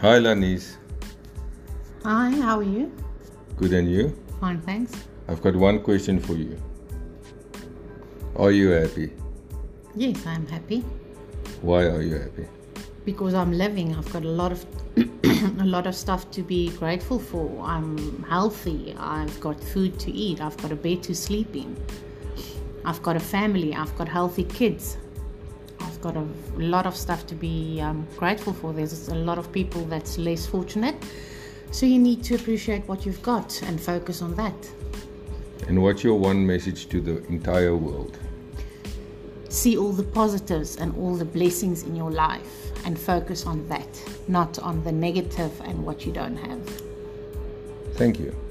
Hi, Lanis. Hi, how are you? Good and you? Fine, thanks. I've got one question for you. Are you happy? Yes, I'm happy Why are you happy? because I'm living. I've got a lot of a lot of stuff to be grateful for. I'm healthy. I've got food to eat. I've got a bed to sleep in. I've got a family. I've got healthy kids. I've got a lot of stuff to be um, grateful for. There's a lot of people that's less fortunate. So you need to appreciate what you've got and focus on that. And what's your one message to the entire world? see all the positives and all the blessings in your life and focus on that, not on the negative and what you don't have. Thank you.